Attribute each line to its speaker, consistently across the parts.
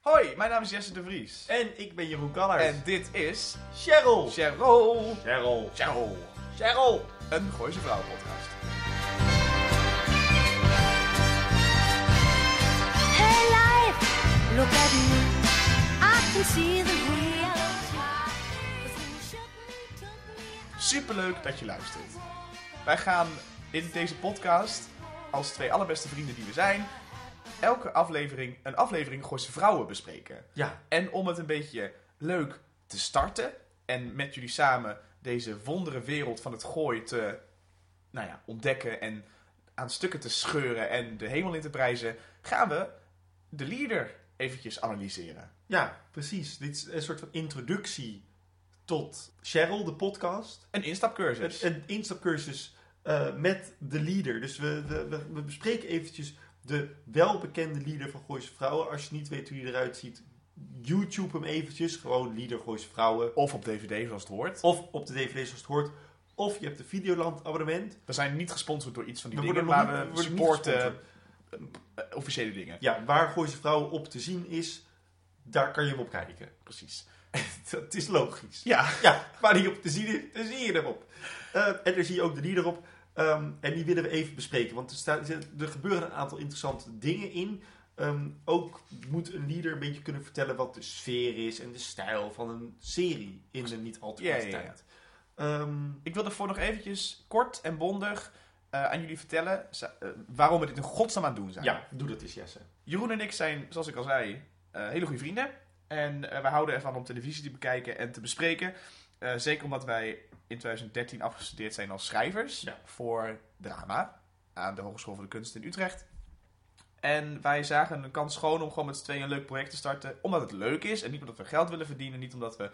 Speaker 1: Hoi, mijn naam is Jesse de Vries.
Speaker 2: En ik ben Jeroen Kallers.
Speaker 1: En dit is
Speaker 2: Cheryl.
Speaker 1: Cheryl.
Speaker 2: Cheryl.
Speaker 1: Cheryl.
Speaker 2: Cheryl.
Speaker 1: Een Gooise Vrouwen podcast.
Speaker 3: Hey life, look at me. I can see the real time. 'Cause when you shook me, took me,
Speaker 1: Superleuk dat je luistert. Wij gaan in deze podcast, als twee allerbeste vrienden die we zijn, elke aflevering een aflevering Gooise Vrouwen bespreken.
Speaker 2: Ja.
Speaker 1: En om het een beetje leuk te starten en met jullie samen deze wondere wereld van het gooi te nou ja, ontdekken en aan stukken te scheuren en de hemel in te prijzen, gaan we de leader eventjes analyseren.
Speaker 2: Ja, precies. Dit is een soort van introductie tot Cheryl, de podcast.
Speaker 1: Een instapcursus.
Speaker 2: Een, een instapcursus eh, met de leader. Dus we, we, we- we bespreken eventjes de welbekende leader van Gooise Vrouwen. Als je niet weet hoe die eruit ziet, YouTube hem eventjes. Gewoon leader Gooise Vrouwen.
Speaker 1: Of op DVD, zoals het hoort.
Speaker 2: Of op de DVD zoals het hoort. Of je hebt een Videoland abonnement.
Speaker 1: We zijn niet gesponsord door iets van die
Speaker 2: We
Speaker 1: dingen,
Speaker 2: worden nog
Speaker 1: maar
Speaker 2: niet-
Speaker 1: we,
Speaker 2: we worden niet
Speaker 1: supporten eh, officiële dingen.
Speaker 2: Ja, waar Gooise Vrouwen op te zien is, daar kan je hem op kijken.
Speaker 1: Precies.
Speaker 2: Dat is logisch.
Speaker 1: Ja,
Speaker 2: Ja, waar die op te zien is, daar zie je hem op. Eh, en daar zie je ook de leader op. Ehm, en die willen we even bespreken. Want er, staat, er gebeuren een aantal interessante dingen in. Ehm, ook moet een leader een beetje kunnen vertellen wat de sfeer is en de stijl van een serie in de niet al te korte
Speaker 1: Ja, ja, ja.
Speaker 2: tijd. Ehm,
Speaker 1: ik wil daarvoor nog eventjes kort en bondig eh, aan jullie vertellen za- eh, waarom we dit in godsnaam aan het doen zijn.
Speaker 2: ja, doe dat eens, Jesse.
Speaker 1: Jeroen en ik zijn, zoals ik al zei, eh, hele goede vrienden. En eh, we houden ervan om televisie te bekijken en te bespreken. Eh, zeker omdat wij in 2013 afgestudeerd zijn als schrijvers
Speaker 2: Ja.
Speaker 1: voor drama aan de Hogeschool voor de Kunsten in Utrecht. En wij zagen een kans schoon om gewoon met z'n tweeën een leuk project te starten. Omdat het leuk is en niet omdat we geld willen verdienen. Niet omdat we,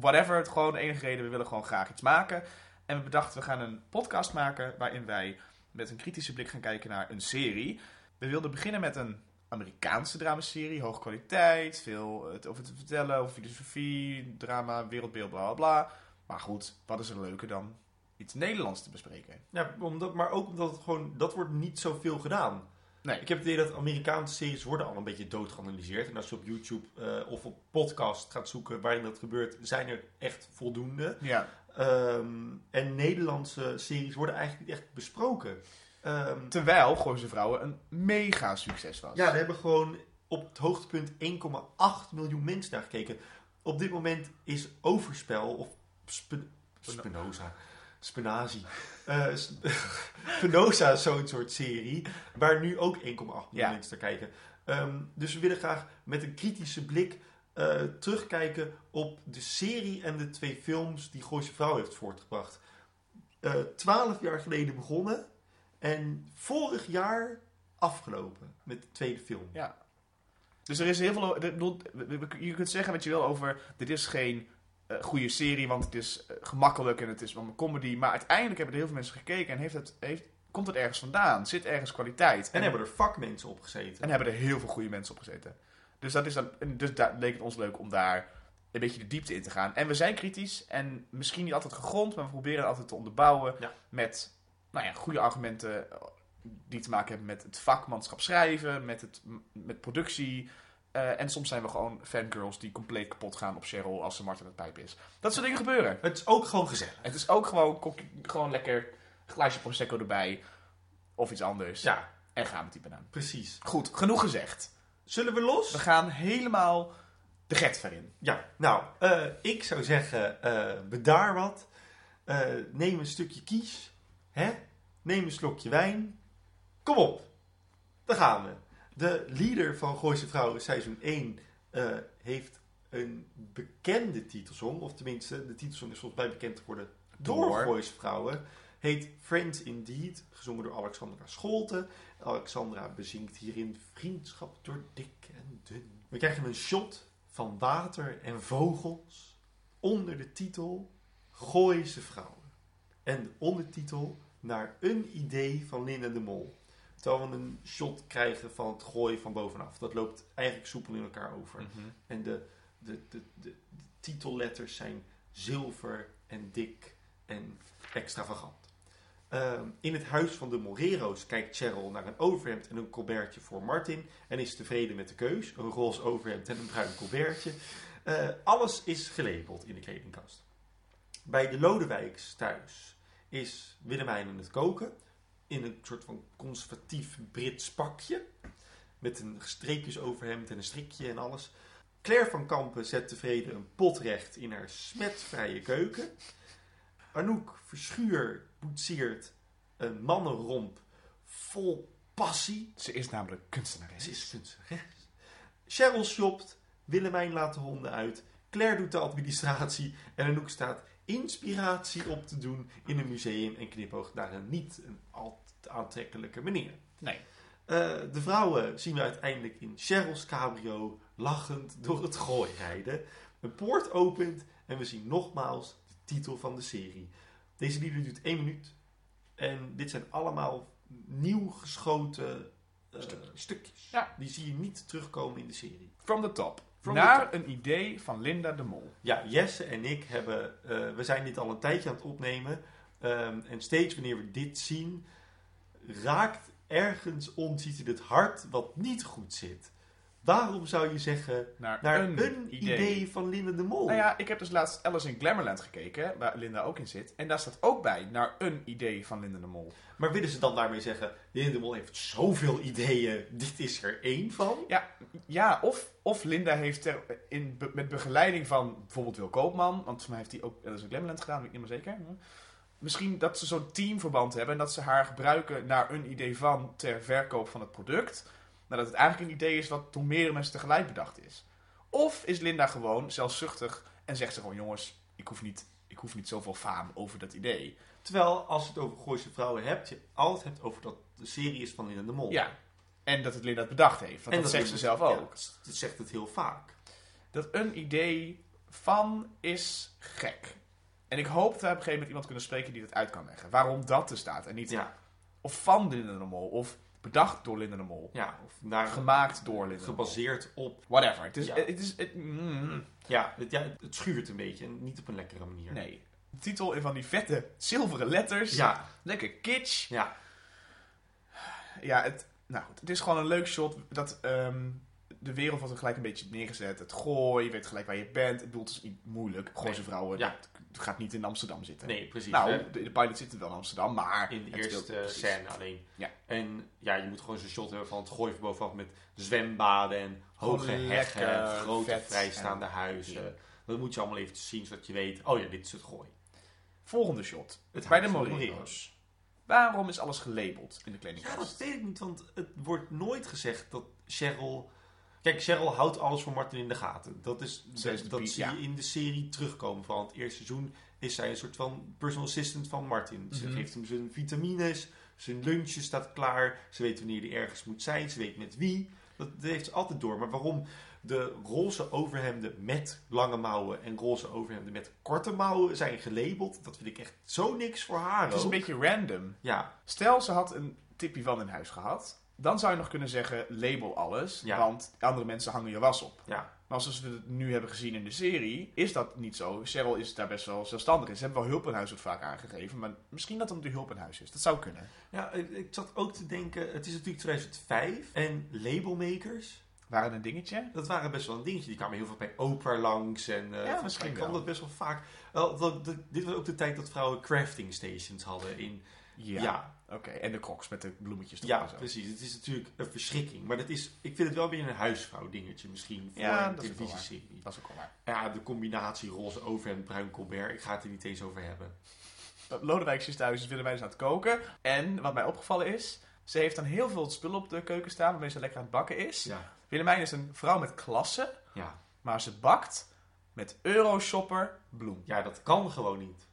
Speaker 1: whatever, het gewoon de enige reden, we willen gewoon graag iets maken. En we bedachten, we gaan een podcast maken waarin wij met een kritische blik gaan kijken naar een serie. We wilden beginnen met een Amerikaanse dramaserie, hoge kwaliteit, veel eh, het over te vertellen, over filosofie, drama, wereldbeeld, bla bla bla. Maar goed, wat is er leuker dan iets Nederlands te bespreken?
Speaker 2: Ja, omdat, maar ook omdat het gewoon, dat wordt niet zoveel gedaan.
Speaker 1: Nee.
Speaker 2: Ik heb het idee dat Amerikaanse series worden al een beetje doodgeanalyseerd. En als je op YouTube eh, of op podcast gaat zoeken waarin dat gebeurt, zijn er echt voldoende.
Speaker 1: Ja,
Speaker 2: Ehm, en Nederlandse series worden eigenlijk niet echt besproken. Ehm,
Speaker 1: terwijl Gooise Vrouwen een mega succes was.
Speaker 2: ja, we hebben gewoon op het hoogtepunt 1,8 miljoen mensen naar gekeken. Op dit moment is Overspel of Spen-
Speaker 1: Speno-
Speaker 2: Spinoza. Spenazie. Eh, sp- Spinoza is zo'n soort serie. Waar nu ook 1,8 miljoen
Speaker 1: Ja.
Speaker 2: mensen naar kijken. Ehm, dus we willen graag met een kritische blik eh, terugkijken op de serie en de twee films die Gooise Vrouw heeft voortgebracht. Eh, Twaalf jaar geleden begonnen en vorig jaar afgelopen met de tweede film.
Speaker 1: Ja. Dus er is heel veel. ik bedoel, we- we- Je kunt zeggen wat je wil over. Dit is geen eh, goede serie, want het is eh, gemakkelijk en het is wel een comedy. Maar uiteindelijk hebben er heel veel mensen gekeken en heeft het, heeft, komt het ergens vandaan. Zit ergens kwaliteit.
Speaker 2: En hebben er vakmensen op gezeten.
Speaker 1: En hebben er heel veel goede mensen op gezeten. Dus, dat is dan, en dus daar leek het ons leuk om daar een beetje de diepte in te gaan. En we zijn kritisch en misschien niet altijd gegrond, maar we proberen het altijd te onderbouwen
Speaker 2: Ja.
Speaker 1: met nou ja, goede argumenten die te maken hebben met het vakmanschap schrijven, met, het, met productie. Eh, en soms zijn we gewoon fangirls die compleet kapot gaan op Cheryl als ze Martin het pijp is. Dat soort dingen gebeuren.
Speaker 2: Het is ook gewoon gezellig.
Speaker 1: Het is ook gewoon, kok- gewoon lekker een glaasje prosecco erbij of iets anders.
Speaker 2: Ja,
Speaker 1: En gaan met die banaan.
Speaker 2: precies.
Speaker 1: Goed, genoeg gezegd.
Speaker 2: Zullen we los?
Speaker 1: We gaan helemaal de get ver in.
Speaker 2: Ja, nou, eh, ik zou zeggen, eh bedaar wat. Eh, neem een stukje kies. Hè? Neem een slokje wijn. Kom op, daar gaan we. De leader van Gooise Vrouwen seizoen 1 eh, heeft een bekende titelsong. Of tenminste, de titelsong is volgens mij bekend geworden door,
Speaker 1: Door.
Speaker 2: Gooise Vrouwen. Heet Friends Indeed, gezongen door Alexandra Scholte. Alexandra bezinkt hierin vriendschap door dik en dun. We krijgen een shot van water en vogels onder de titel Gooise Vrouwen. En de ondertitel naar een idee van Linda de Mol. Terwijl we een shot krijgen van het gooien van bovenaf. Dat loopt eigenlijk soepel in elkaar
Speaker 1: Mm.
Speaker 2: over.
Speaker 1: Mhm.
Speaker 2: En de, de, de, de, de titelletters zijn zilver en dik en extravagant. Ehm, in het huis van de Morero's kijkt Cheryl naar een overhemd en een colbertje voor Martin. En is tevreden met de keus. Een roze overhemd en een bruin colbertje. Eh, alles is gelabeld in de kledingkast. Bij de Lodewijks thuis is Willemijn aan het koken. In een soort van conservatief Brits pakje. Met een streepjesoverhemd en een strikje en alles. Claire van Kampen zet tevreden een pot recht in haar smetvrije keuken. Anouk Verschuur boetseert een mannenromp vol passie.
Speaker 1: Ze is namelijk kunstenares.
Speaker 2: Ze is kunstenares. Cheryl shopt, Willemijn laat de honden uit, Claire doet de administratie en Anouk staat inspiratie op te doen in een museum en knipoogt naar een niet een al te aantrekkelijke manier.
Speaker 1: Nee.
Speaker 2: Eh, de vrouwen zien we uiteindelijk in Cheryl's cabrio lachend door het gooi rijden. Een poort opent en we zien nogmaals de titel van de serie. Deze liederen duurt één minuut. En dit zijn allemaal nieuw geschoten eh, stukjes.
Speaker 1: Ja.
Speaker 2: Die zie je niet terugkomen in de serie.
Speaker 1: From the top.
Speaker 2: From
Speaker 1: Naar
Speaker 2: the
Speaker 1: een idee van Linda de Mol.
Speaker 2: Ja, Jesse en ik hebben, eh, we zijn dit al een tijdje aan het opnemen. Ehm, en steeds wanneer we dit zien, raakt ergens ons iets in het hart wat niet goed zit. Waarom zou je zeggen
Speaker 1: Naar,
Speaker 2: naar een, idee. van Linda de Mol?
Speaker 1: Nou ja, ik heb dus laatst Alice in Glamourland gekeken, waar Linda ook in zit. En daar staat ook bij, naar een idee van Linda de Mol.
Speaker 2: Maar willen ze dan daarmee zeggen, Linda de Mol heeft zoveel ideeën, dit is er één van?
Speaker 1: Ja, of, of Linda heeft ter, in, be- met begeleiding van bijvoorbeeld Wil Koopman, want volgens mij heeft hij ook Alice in Glamourland gedaan, weet ik niet meer zeker. Misschien dat ze zo'n teamverband hebben en dat ze haar gebruiken naar een idee van ter verkoop van het product. Maar dat het eigenlijk een idee is wat door meerdere mensen tegelijk bedacht is. Of is Linda gewoon zelfzuchtig en zegt ze gewoon, jongens, ik hoef niet, ik hoef niet zoveel faam over dat idee.
Speaker 2: Terwijl, als je het over Gooise vrouwen hebt, je altijd hebt over dat de serie is van Linda de Mol.
Speaker 1: Ja. En dat het Linda het bedacht heeft. Want
Speaker 2: En
Speaker 1: dat, zegt ze
Speaker 2: Linda-
Speaker 1: zelf
Speaker 2: ja,
Speaker 1: ook.
Speaker 2: dat zegt het heel vaak.
Speaker 1: Dat een idee van is gek. En ik hoop dat we op een gegeven moment iemand kunnen spreken die dat uit kan leggen. Waarom dat er staat. En niet
Speaker 2: Ja,
Speaker 1: of van Linda de Mol. Of bedacht door Linda de Mol.
Speaker 2: ja of naar,
Speaker 1: Gemaakt door Linda de Mol.
Speaker 2: gebaseerd op.
Speaker 1: Whatever. Het is...
Speaker 2: Ja.
Speaker 1: Het is het, mm,
Speaker 2: Ja het, ja, het schuurt een beetje en niet op een lekkere manier.
Speaker 1: nee. De titel in van die vette zilveren letters.
Speaker 2: Ja,
Speaker 1: Lekker kitsch.
Speaker 2: ja,
Speaker 1: Ja, het, nou goed, het is gewoon een leuk shot. Dat, ehm, de wereld wordt er gelijk een beetje neergezet. Het gooi, je weet gelijk waar je bent. Ik bedoel, het is niet moeilijk. Gooi ze
Speaker 2: Nee.
Speaker 1: vrouwen,
Speaker 2: Ja.
Speaker 1: dat k- gaat niet in Amsterdam zitten.
Speaker 2: nee, precies. hè.
Speaker 1: nou, de, de pilot zit er wel in Amsterdam, maar...
Speaker 2: eh, in de
Speaker 1: het
Speaker 2: eerste eh,
Speaker 1: speelt- precies.
Speaker 2: scène alleen.
Speaker 1: Ja.
Speaker 2: En ja, je moet gewoon zo'n shot hebben van het gooien van bovenaf met zwembaden en hoge
Speaker 1: Gewoon
Speaker 2: heggen
Speaker 1: lekker
Speaker 2: en grote
Speaker 1: vet
Speaker 2: vrijstaande
Speaker 1: en-
Speaker 2: huizen.
Speaker 1: Ja.
Speaker 2: Dat moet je allemaal even zien zodat je weet, oh ja, dit is het gooi.
Speaker 1: Volgende shot.
Speaker 2: Het
Speaker 1: bij de
Speaker 2: huis van de
Speaker 1: Morero's. Waarom is alles gelabeld in de
Speaker 2: Ja, dat
Speaker 1: kledingkast?
Speaker 2: weet ik niet, want het wordt nooit gezegd dat Cheryl... Kijk, Cheryl houdt alles voor Martin in de gaten. Dat, is,
Speaker 1: Zij is de
Speaker 2: dat
Speaker 1: pie-
Speaker 2: zie
Speaker 1: ja.
Speaker 2: je in de serie terugkomen. Vooral in het eerste seizoen is zij een soort van personal assistant van Martin. Ze
Speaker 1: Mhm.
Speaker 2: geeft hem zijn vitamines, zijn lunchje staat klaar. Ze weet wanneer hij ergens moet zijn, ze weet met wie. Dat heeft ze altijd door. Maar waarom de roze overhemden met lange mouwen en roze overhemden met korte mouwen zijn gelabeld, dat vind ik echt zo niks voor haar.
Speaker 1: Het is een
Speaker 2: ook.
Speaker 1: beetje random.
Speaker 2: Ja,
Speaker 1: Stel, ze had een tippie van in huis gehad. Dan zou je nog kunnen zeggen, label alles.
Speaker 2: Ja.
Speaker 1: Want andere mensen hangen je was op.
Speaker 2: ja.
Speaker 1: Maar zoals we het nu hebben gezien in de serie, is dat niet zo. Cheryl is daar best wel zelfstandig in. Ze hebben wel hulp in huis wordt vaak aangegeven, maar misschien dat het de hulp in huis is. Dat zou kunnen.
Speaker 2: Ja, ik ik zat ook te denken, het is natuurlijk 2005 en labelmakers,
Speaker 1: Waren een dingetje?
Speaker 2: dat waren best wel een dingetje. Die kwamen heel veel bij Oprah langs en eh, volgens
Speaker 1: misschien
Speaker 2: mij kwam
Speaker 1: wel.
Speaker 2: dat best wel vaak. Wel, dat- dat- dit was ook de tijd dat vrouwen crafting stations hadden. In,
Speaker 1: Ja.
Speaker 2: ja, ja,
Speaker 1: Oké, en de crocs met de bloemetjes erop en zo.
Speaker 2: precies. Het is natuurlijk een verschrikking, maar dat is, ik vind het wel weer een huisvrouw dingetje misschien voor
Speaker 1: Ja,
Speaker 2: een
Speaker 1: dat is ook wel waar.
Speaker 2: televisieserie.
Speaker 1: Dat is ook al waar.
Speaker 2: Ja, de combinatie roze over en bruin colbert, ik ga het er niet eens over hebben.
Speaker 1: Dat Lodewijk is thuis, dus willen wij dus aan het koken. En wat mij opgevallen is, ze heeft dan heel veel spullen op de keuken staan waarmee ze lekker aan het bakken is.
Speaker 2: Ja,
Speaker 1: Willemijn is een vrouw met klasse,
Speaker 2: ja.
Speaker 1: maar ze bakt met Euroshopper bloem.
Speaker 2: ja dat kan gewoon niet.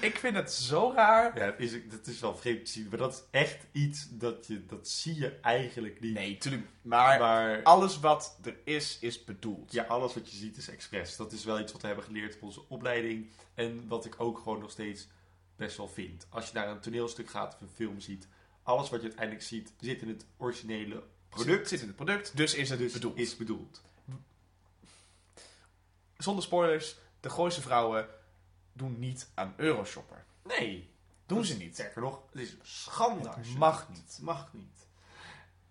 Speaker 1: Ik vind het zo raar.
Speaker 2: Ja, het is, dat is wel vreemd te zien, maar dat is echt iets dat je, dat zie je eigenlijk niet.
Speaker 1: Nee, tuurlijk. Maar,
Speaker 2: maar
Speaker 1: alles wat er is, is bedoeld.
Speaker 2: ja, alles wat je ziet is expres. Dat is wel iets wat we hebben geleerd op onze opleiding en wat ik ook gewoon nog steeds best wel vind. Als je naar een toneelstuk gaat of een film ziet, alles wat je uiteindelijk ziet zit in het originele product.
Speaker 1: product zit in het product, dus is het
Speaker 2: Dus
Speaker 1: bedoeld.
Speaker 2: is bedoeld.
Speaker 1: Zonder spoilers, de Gooise vrouwen doen niet aan Euroshopper.
Speaker 2: Nee.
Speaker 1: Doen ze niet.
Speaker 2: Sterker nog, het is schandaal.
Speaker 1: Het mag niet.
Speaker 2: Het mag niet.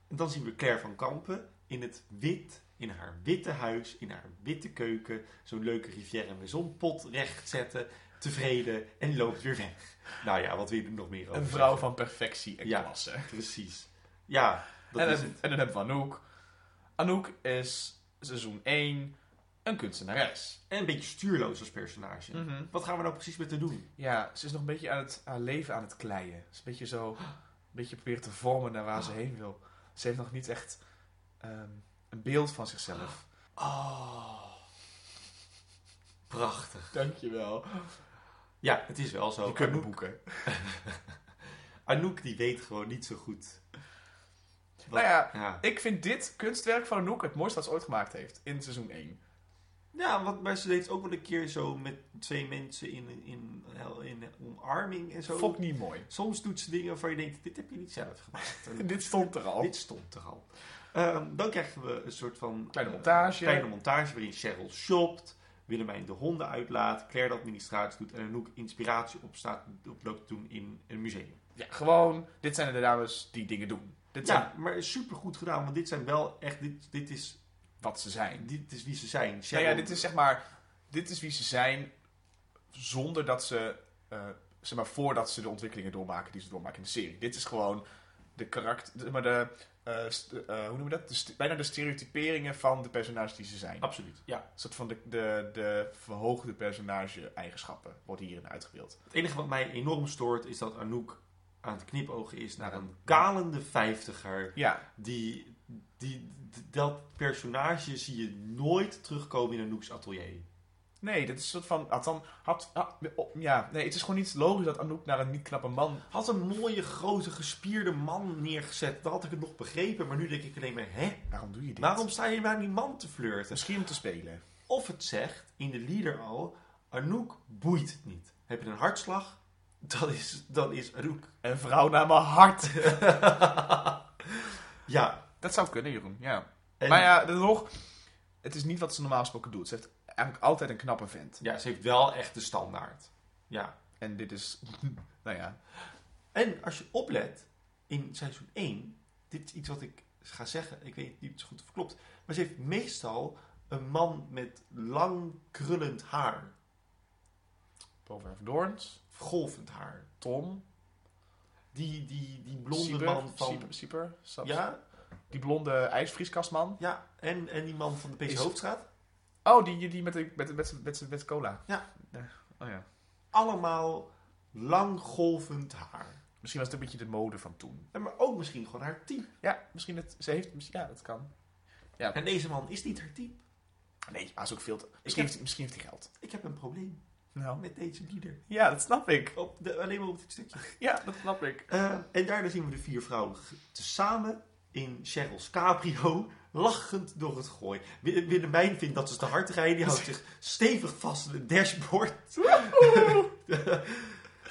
Speaker 2: En dan zien we Claire van Kampen in het wit, in haar witte huis, in haar witte keuken, zo'n leuke Rivière Maison pot recht zetten, tevreden en loopt weer weg. Nou ja, wat wil je er nog meer over?
Speaker 1: Een vrouw
Speaker 2: zeggen?
Speaker 1: van perfectie en
Speaker 2: Ja.
Speaker 1: klasse.
Speaker 2: Precies. Ja, dat
Speaker 1: en,
Speaker 2: is
Speaker 1: dan-
Speaker 2: het.
Speaker 1: en dan hebben we Anouk. Anouk is seizoen 1 een kunstenares.
Speaker 2: En een beetje stuurloos als personage.
Speaker 1: Mhm.
Speaker 2: Wat gaan we nou precies met haar doen?
Speaker 1: Ja, ze is nog een beetje aan het, haar leven aan het kleien. Ze is een beetje zo, een beetje proberen te vormen naar waar ze heen wil. Ze heeft nog niet echt ehm, een beeld van zichzelf.
Speaker 2: Oh. Prachtig.
Speaker 1: Dankjewel.
Speaker 2: Ja, het is wel zo.
Speaker 1: Je kunt me
Speaker 2: Anouk-
Speaker 1: boeken.
Speaker 2: Anouk die weet gewoon niet zo goed. Wat-
Speaker 1: Nou ja,
Speaker 2: ja.
Speaker 1: ik vind dit kunstwerk van Anouk het mooiste wat ze ooit gemaakt heeft. In seizoen 1.
Speaker 2: Ja, want, maar ze deed het ook wel een keer zo met twee mensen in, in, in, omarming en zo.
Speaker 1: Fok niet mooi.
Speaker 2: Soms doet ze dingen waarvan je denkt, dit heb je niet zelf gemaakt. En
Speaker 1: Dit stond er al.
Speaker 2: dit stond er al. Ehm, dan krijgen we een soort van...
Speaker 1: Kleine
Speaker 2: eh,
Speaker 1: montage.
Speaker 2: kleine montage waarin Cheryl shopt, Willemijn de honden uitlaat, Claire de administratie doet en Anouk inspiratie opstaat, oploopt te doen in een museum.
Speaker 1: Ja, gewoon, dit zijn de dames die dingen doen. Dit zijn
Speaker 2: Ja, maar super goed gedaan, want dit zijn wel echt, dit, dit, is,
Speaker 1: wat ze zijn.
Speaker 2: dit is wie ze zijn.
Speaker 1: Nou
Speaker 2: Cheryl-
Speaker 1: ja, dit is zeg maar, dit is wie ze zijn zonder dat ze, eh, zeg maar, voordat ze de ontwikkelingen doormaken die ze doormaken in de serie. Dit is gewoon de karakter, de- maar de, eh, st- eh, hoe noemen we dat? De st- bijna de stereotyperingen van de personages die ze zijn.
Speaker 2: Absoluut, ja.
Speaker 1: Een soort van de, de, de verhoogde personage-eigenschappen worden hierin uitgebeeld.
Speaker 2: Het enige wat mij enorm stoort is dat Anouk aan het knipogen is naar een kalende vijftiger.
Speaker 1: Ja,
Speaker 2: Die, die, d- dat personage zie je nooit terugkomen in Anouk's atelier.
Speaker 1: nee, dat is een soort van, had dan, had, ah, oh, ja, nee, het is gewoon niet logisch dat Anouk naar een niet knappe man
Speaker 2: Had een mooie, grote, gespierde man neergezet. Dan had ik het nog begrepen. Maar nu denk ik alleen maar, hè?
Speaker 1: Waarom doe je dit?
Speaker 2: Waarom sta je maar die man te flirten?
Speaker 1: Misschien om te spelen.
Speaker 2: Of het zegt, in de lieder al, Anouk boeit het niet. Heb je een hartslag? Dan is, dan is Anouk.
Speaker 1: Een vrouw naar mijn hart.
Speaker 2: Ja.
Speaker 1: Dat zou kunnen, Jeroen. Ja.
Speaker 2: en-
Speaker 1: Maar ja, dat nog. Het is niet wat ze normaal gesproken doet. Ze heeft eigenlijk altijd een knappe vent.
Speaker 2: ja, ze heeft wel echt de standaard. Ja.
Speaker 1: En dit is. nou ja.
Speaker 2: En als je oplet, in seizoen 1, dit is iets wat ik ga zeggen, ik weet niet zo goed of het klopt, maar ze heeft meestal een man met lang krullend haar,
Speaker 1: Boven van Doorns.
Speaker 2: of golvend haar.
Speaker 1: Tom.
Speaker 2: Die, die, die blonde
Speaker 1: Blonde
Speaker 2: man
Speaker 1: Sieper.
Speaker 2: van...
Speaker 1: Sieper. Sieper, Saps.
Speaker 2: Ja,
Speaker 1: Die blonde ijsvrieskastman.
Speaker 2: ja en, en die man van de PC
Speaker 1: Is-
Speaker 2: Hoofdstraat.
Speaker 1: Oh, die, die met, de- met, met, met, met, met cola.
Speaker 2: Ja.
Speaker 1: Oh ja.
Speaker 2: Allemaal lang golvend haar.
Speaker 1: Misschien was het een beetje de mode van toen.
Speaker 2: En maar ook misschien gewoon haar type.
Speaker 1: Ja, misschien het. Ze heeft. misschien- Ja, dat kan.
Speaker 2: En deze man is niet haar type.
Speaker 1: Nee, hij is ook veel te.
Speaker 2: Ik
Speaker 1: Misschien,
Speaker 2: heb-
Speaker 1: heeft, misschien heeft hij geld.
Speaker 2: Ik heb een probleem
Speaker 1: Nou.
Speaker 2: met deze lieder.
Speaker 1: Ja, dat snap ik.
Speaker 2: Op de, alleen maar op dit stukje.
Speaker 1: Ja, dat snap ik.
Speaker 2: Eh, en daarna zien we de vier vrouwen g- tezamen in Cheryl's cabrio lachend door het gooi. Wi- Willemijn vindt dat ze te hard rijden. Die houdt zich stevig vast in het dashboard.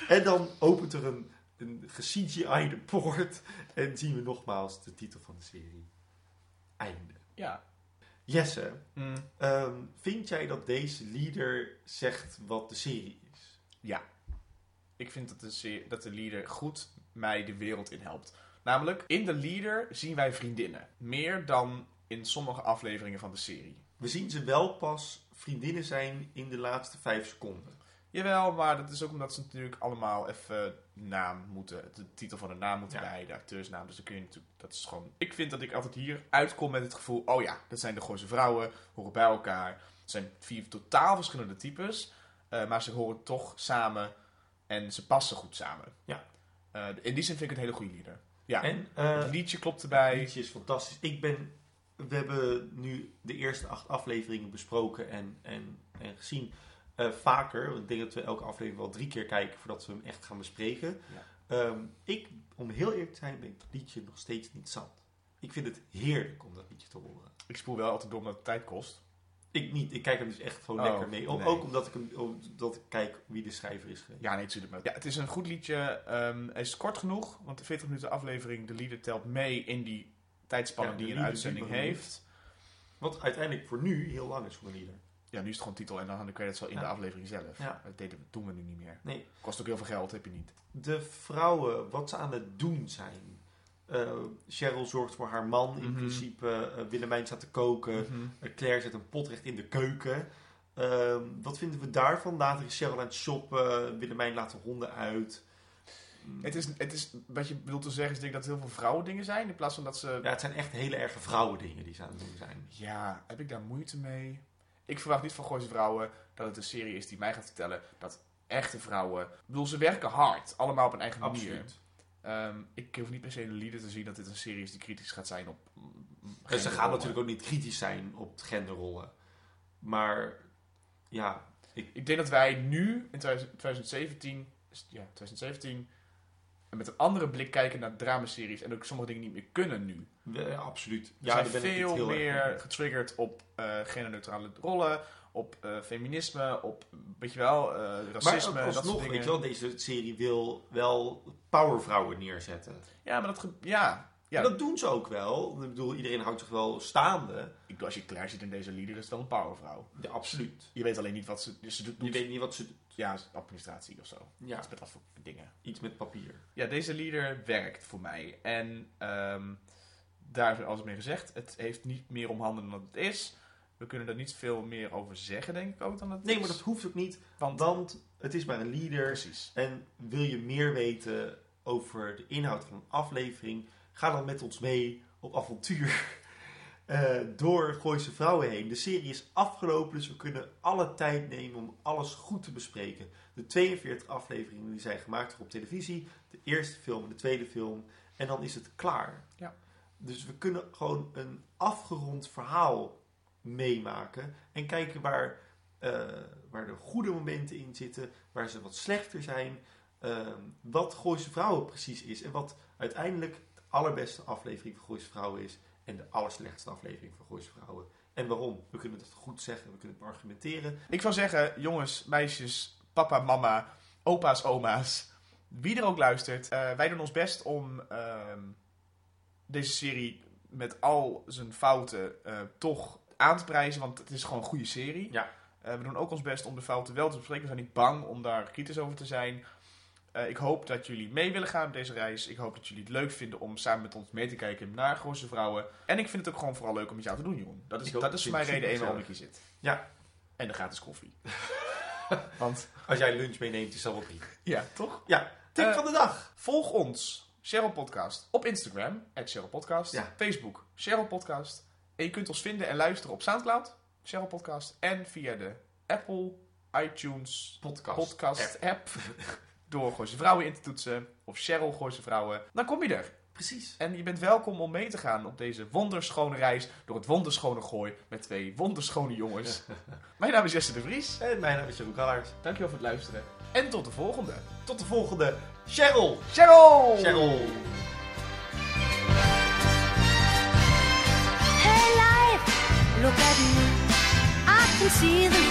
Speaker 2: en dan opent er een, een ge-CGI'de poort. En zien we nogmaals de titel van de serie. Einde.
Speaker 1: Ja.
Speaker 2: Jesse,
Speaker 1: Mm.
Speaker 2: ehm, vind jij dat deze leader zegt wat de serie is?
Speaker 1: Ik vind dat de, se- dat de leader goed mij de wereld in helpt. Namelijk, in de leader zien wij vriendinnen. Meer dan in sommige afleveringen van de serie.
Speaker 2: We zien ze wel pas vriendinnen zijn in de laatste vijf seconden.
Speaker 1: Jawel, maar dat is ook omdat ze natuurlijk allemaal even naam moeten. De titel van de naam moeten
Speaker 2: Ja.
Speaker 1: bij, de acteursnaam. Dus dan kun je natuurlijk. Dat is gewoon. Ik vind dat ik altijd hier uitkom met het gevoel: oh ja, dat zijn de Gooise vrouwen, horen bij elkaar. Het zijn vier totaal verschillende types. eh, maar ze horen toch samen en ze passen goed samen.
Speaker 2: Ja.
Speaker 1: Eh, in die zin vind ik het een hele goede leader. Ja.
Speaker 2: En eh,
Speaker 1: Het liedje klopt
Speaker 2: Het
Speaker 1: erbij.
Speaker 2: liedje is fantastisch. Ik ben, we hebben nu de eerste acht afleveringen besproken en, en, en gezien. Eh, vaker, want ik denk dat we elke aflevering wel drie keer kijken voordat we hem echt gaan bespreken.
Speaker 1: Ja.
Speaker 2: Ehm, ik, om heel eerlijk te zijn, ben ik het liedje nog steeds niet zat. Ik vind het heerlijk om dat liedje te horen.
Speaker 1: Ik spoel wel altijd door omdat het tijd kost.
Speaker 2: Ik niet, ik kijk hem dus echt gewoon
Speaker 1: Oh,
Speaker 2: lekker mee. Om-
Speaker 1: nee.
Speaker 2: Ook omdat ik, hem, omdat ik kijk wie de schrijver is geweest.
Speaker 1: Ja, nee, natuurlijk. maar- Ja, het is een goed liedje. Ehm, hij is kort genoeg, want de 40 minuten aflevering, de leader telt mee in die tijdspanning
Speaker 2: Ja, de
Speaker 1: die een
Speaker 2: leader
Speaker 1: uitzending
Speaker 2: die we
Speaker 1: heeft.
Speaker 2: Wat uiteindelijk voor nu heel lang is voor een ieder.
Speaker 1: Ja, nu is het gewoon titel en dan gaan de credits wel in
Speaker 2: Ja.
Speaker 1: de aflevering zelf.
Speaker 2: Ja.
Speaker 1: Dat deden, doen we nu niet meer.
Speaker 2: Nee.
Speaker 1: Kost ook heel veel geld, heb je niet.
Speaker 2: De vrouwen, wat ze aan het doen zijn. Eh, Cheryl zorgt voor haar man in
Speaker 1: Mhm.
Speaker 2: principe. Eh, Willemijn staat te koken. Eh, Claire zet een potrecht in de keuken. Ehm, wat vinden we daarvan? Later is Cheryl aan het shoppen. Willemijn laat de honden uit. Mm.
Speaker 1: Het is, het is, wat je bedoelt te zeggen is denk ik dat het heel veel vrouwen dingen zijn. In plaats van dat ze...
Speaker 2: Ja, het zijn echt hele erge vrouwen dingen die ze aan het doen zijn.
Speaker 1: Ja, heb ik daar moeite mee? Ik verwacht niet van Gooise Vrouwen dat het een serie is die mij gaat vertellen dat echte vrouwen... Ik bedoel, ze werken hard. Allemaal op een eigen manier. Ehm, ik hoef niet per se de lieden te zien dat dit een serie is die kritisch gaat zijn op... mm,
Speaker 2: En Dus ze gaan
Speaker 1: genderrollen.
Speaker 2: natuurlijk ook niet kritisch zijn op genderrollen. Maar ja,
Speaker 1: Ik denk dat wij nu, in 2017, ja, 2017 met een andere blik kijken naar dramaseries. En ook sommige dingen niet meer kunnen nu.
Speaker 2: we- absoluut.
Speaker 1: We ja,
Speaker 2: Ja,
Speaker 1: zijn
Speaker 2: daar ben ik
Speaker 1: veel
Speaker 2: het heel erg mee
Speaker 1: meer
Speaker 2: eens.
Speaker 1: getriggerd op eh genderneutrale rollen, op eh, feminisme, op, weet je wel, eh, racisme,
Speaker 2: maar ook
Speaker 1: dat soort
Speaker 2: alsnog,
Speaker 1: dingen.
Speaker 2: weet je wel, deze serie wil wel powervrouwen neerzetten.
Speaker 1: Ja, maar dat... ge- Ja, ja
Speaker 2: En dat doen ze ook wel. Ik bedoel, iedereen houdt zich wel staande.
Speaker 1: ik bedoel, als je Claire ziet in deze lieder, is het wel een powervrouw.
Speaker 2: Ja, absoluut.
Speaker 1: Je weet alleen niet wat ze... Dus ze doet,
Speaker 2: Je weet niet wat ze...
Speaker 1: Ja, administratie of zo.
Speaker 2: Ja,
Speaker 1: Dat is met dat voor dingen.
Speaker 2: iets met papier.
Speaker 1: Ja, deze leader werkt voor mij. En ehm, daar is alles mee gezegd. Het heeft niet meer om handen dan het is. We kunnen er niet veel meer over zeggen, denk ik ook, dan het
Speaker 2: Nee,
Speaker 1: is.
Speaker 2: maar dat hoeft ook niet.
Speaker 1: Want,
Speaker 2: Want het is maar een leader.
Speaker 1: precies.
Speaker 2: En wil je meer weten over de inhoud van een aflevering? Ga dan met ons mee op avontuur eh, door Gooise Vrouwen heen. De serie is afgelopen, dus we kunnen alle tijd nemen om alles goed te bespreken. De 42 afleveringen die zijn gemaakt op televisie, de eerste film en de tweede film. En dan is het klaar.
Speaker 1: Ja.
Speaker 2: Dus we kunnen gewoon een afgerond verhaal meemaken en kijken waar, eh, waar de goede momenten in zitten waar ze wat slechter zijn. ehm, wat Gooise Vrouwen precies is. En wat uiteindelijk de allerbeste aflevering van Gooise Vrouwen is. En de allerslechtste aflevering van Gooise Vrouwen. En waarom? We kunnen dat goed zeggen, we kunnen het argumenteren.
Speaker 1: Ik zou zeggen, jongens, meisjes, papa, mama, opa's, oma's, wie er ook luistert. eh, wij doen ons best om ehm, deze serie met al zijn fouten eh, toch aan te prijzen. Want het is gewoon een goede serie.
Speaker 2: Ja.
Speaker 1: Eh, we doen ook ons best om de fouten wel te bespreken. We zijn niet bang om daar kritisch over te zijn. Eh, ik hoop dat jullie mee willen gaan op deze reis. Ik hoop dat jullie het leuk vinden om samen met ons mee te kijken naar Grosse Vrouwen. En ik vind het ook gewoon vooral leuk om met jou te doen, Jeroen. Dat is,
Speaker 2: Ik ook.
Speaker 1: dat is voor
Speaker 2: Ik
Speaker 1: mij
Speaker 2: vind het
Speaker 1: reden één
Speaker 2: super
Speaker 1: waarom ik hier zit.
Speaker 2: Ja.
Speaker 1: En de gratis koffie. Want,
Speaker 2: Als jij lunch meeneemt, is dat wel prima.
Speaker 1: ja, toch?
Speaker 2: Ja, tip
Speaker 1: Eh,
Speaker 2: van de dag.
Speaker 1: Volg ons, Cheryl Podcast, op Instagram, at Cheryl Podcast.
Speaker 2: Ja.
Speaker 1: Facebook, Cheryl Podcast. En je kunt ons vinden en luisteren op Soundcloud, Cheryl Podcast. En via de Apple iTunes
Speaker 2: Podcast.
Speaker 1: podcast app. Door Gooise Vrouwen in te toetsen. Of Cheryl Gooise Vrouwen. Dan kom je er.
Speaker 2: Precies.
Speaker 1: En je bent welkom om mee te gaan op deze wonderschone reis. Door het wonderschone gooi. Met twee wonderschone jongens. Mijn naam is Jesse de Vries.
Speaker 2: En mijn naam is Jeroen Kallaert.
Speaker 1: Dankjewel voor het luisteren. En tot de volgende.
Speaker 2: Tot de volgende. Cheryl!
Speaker 1: Cheryl!
Speaker 2: Cheryl!
Speaker 3: Hey life, look at me. I can see the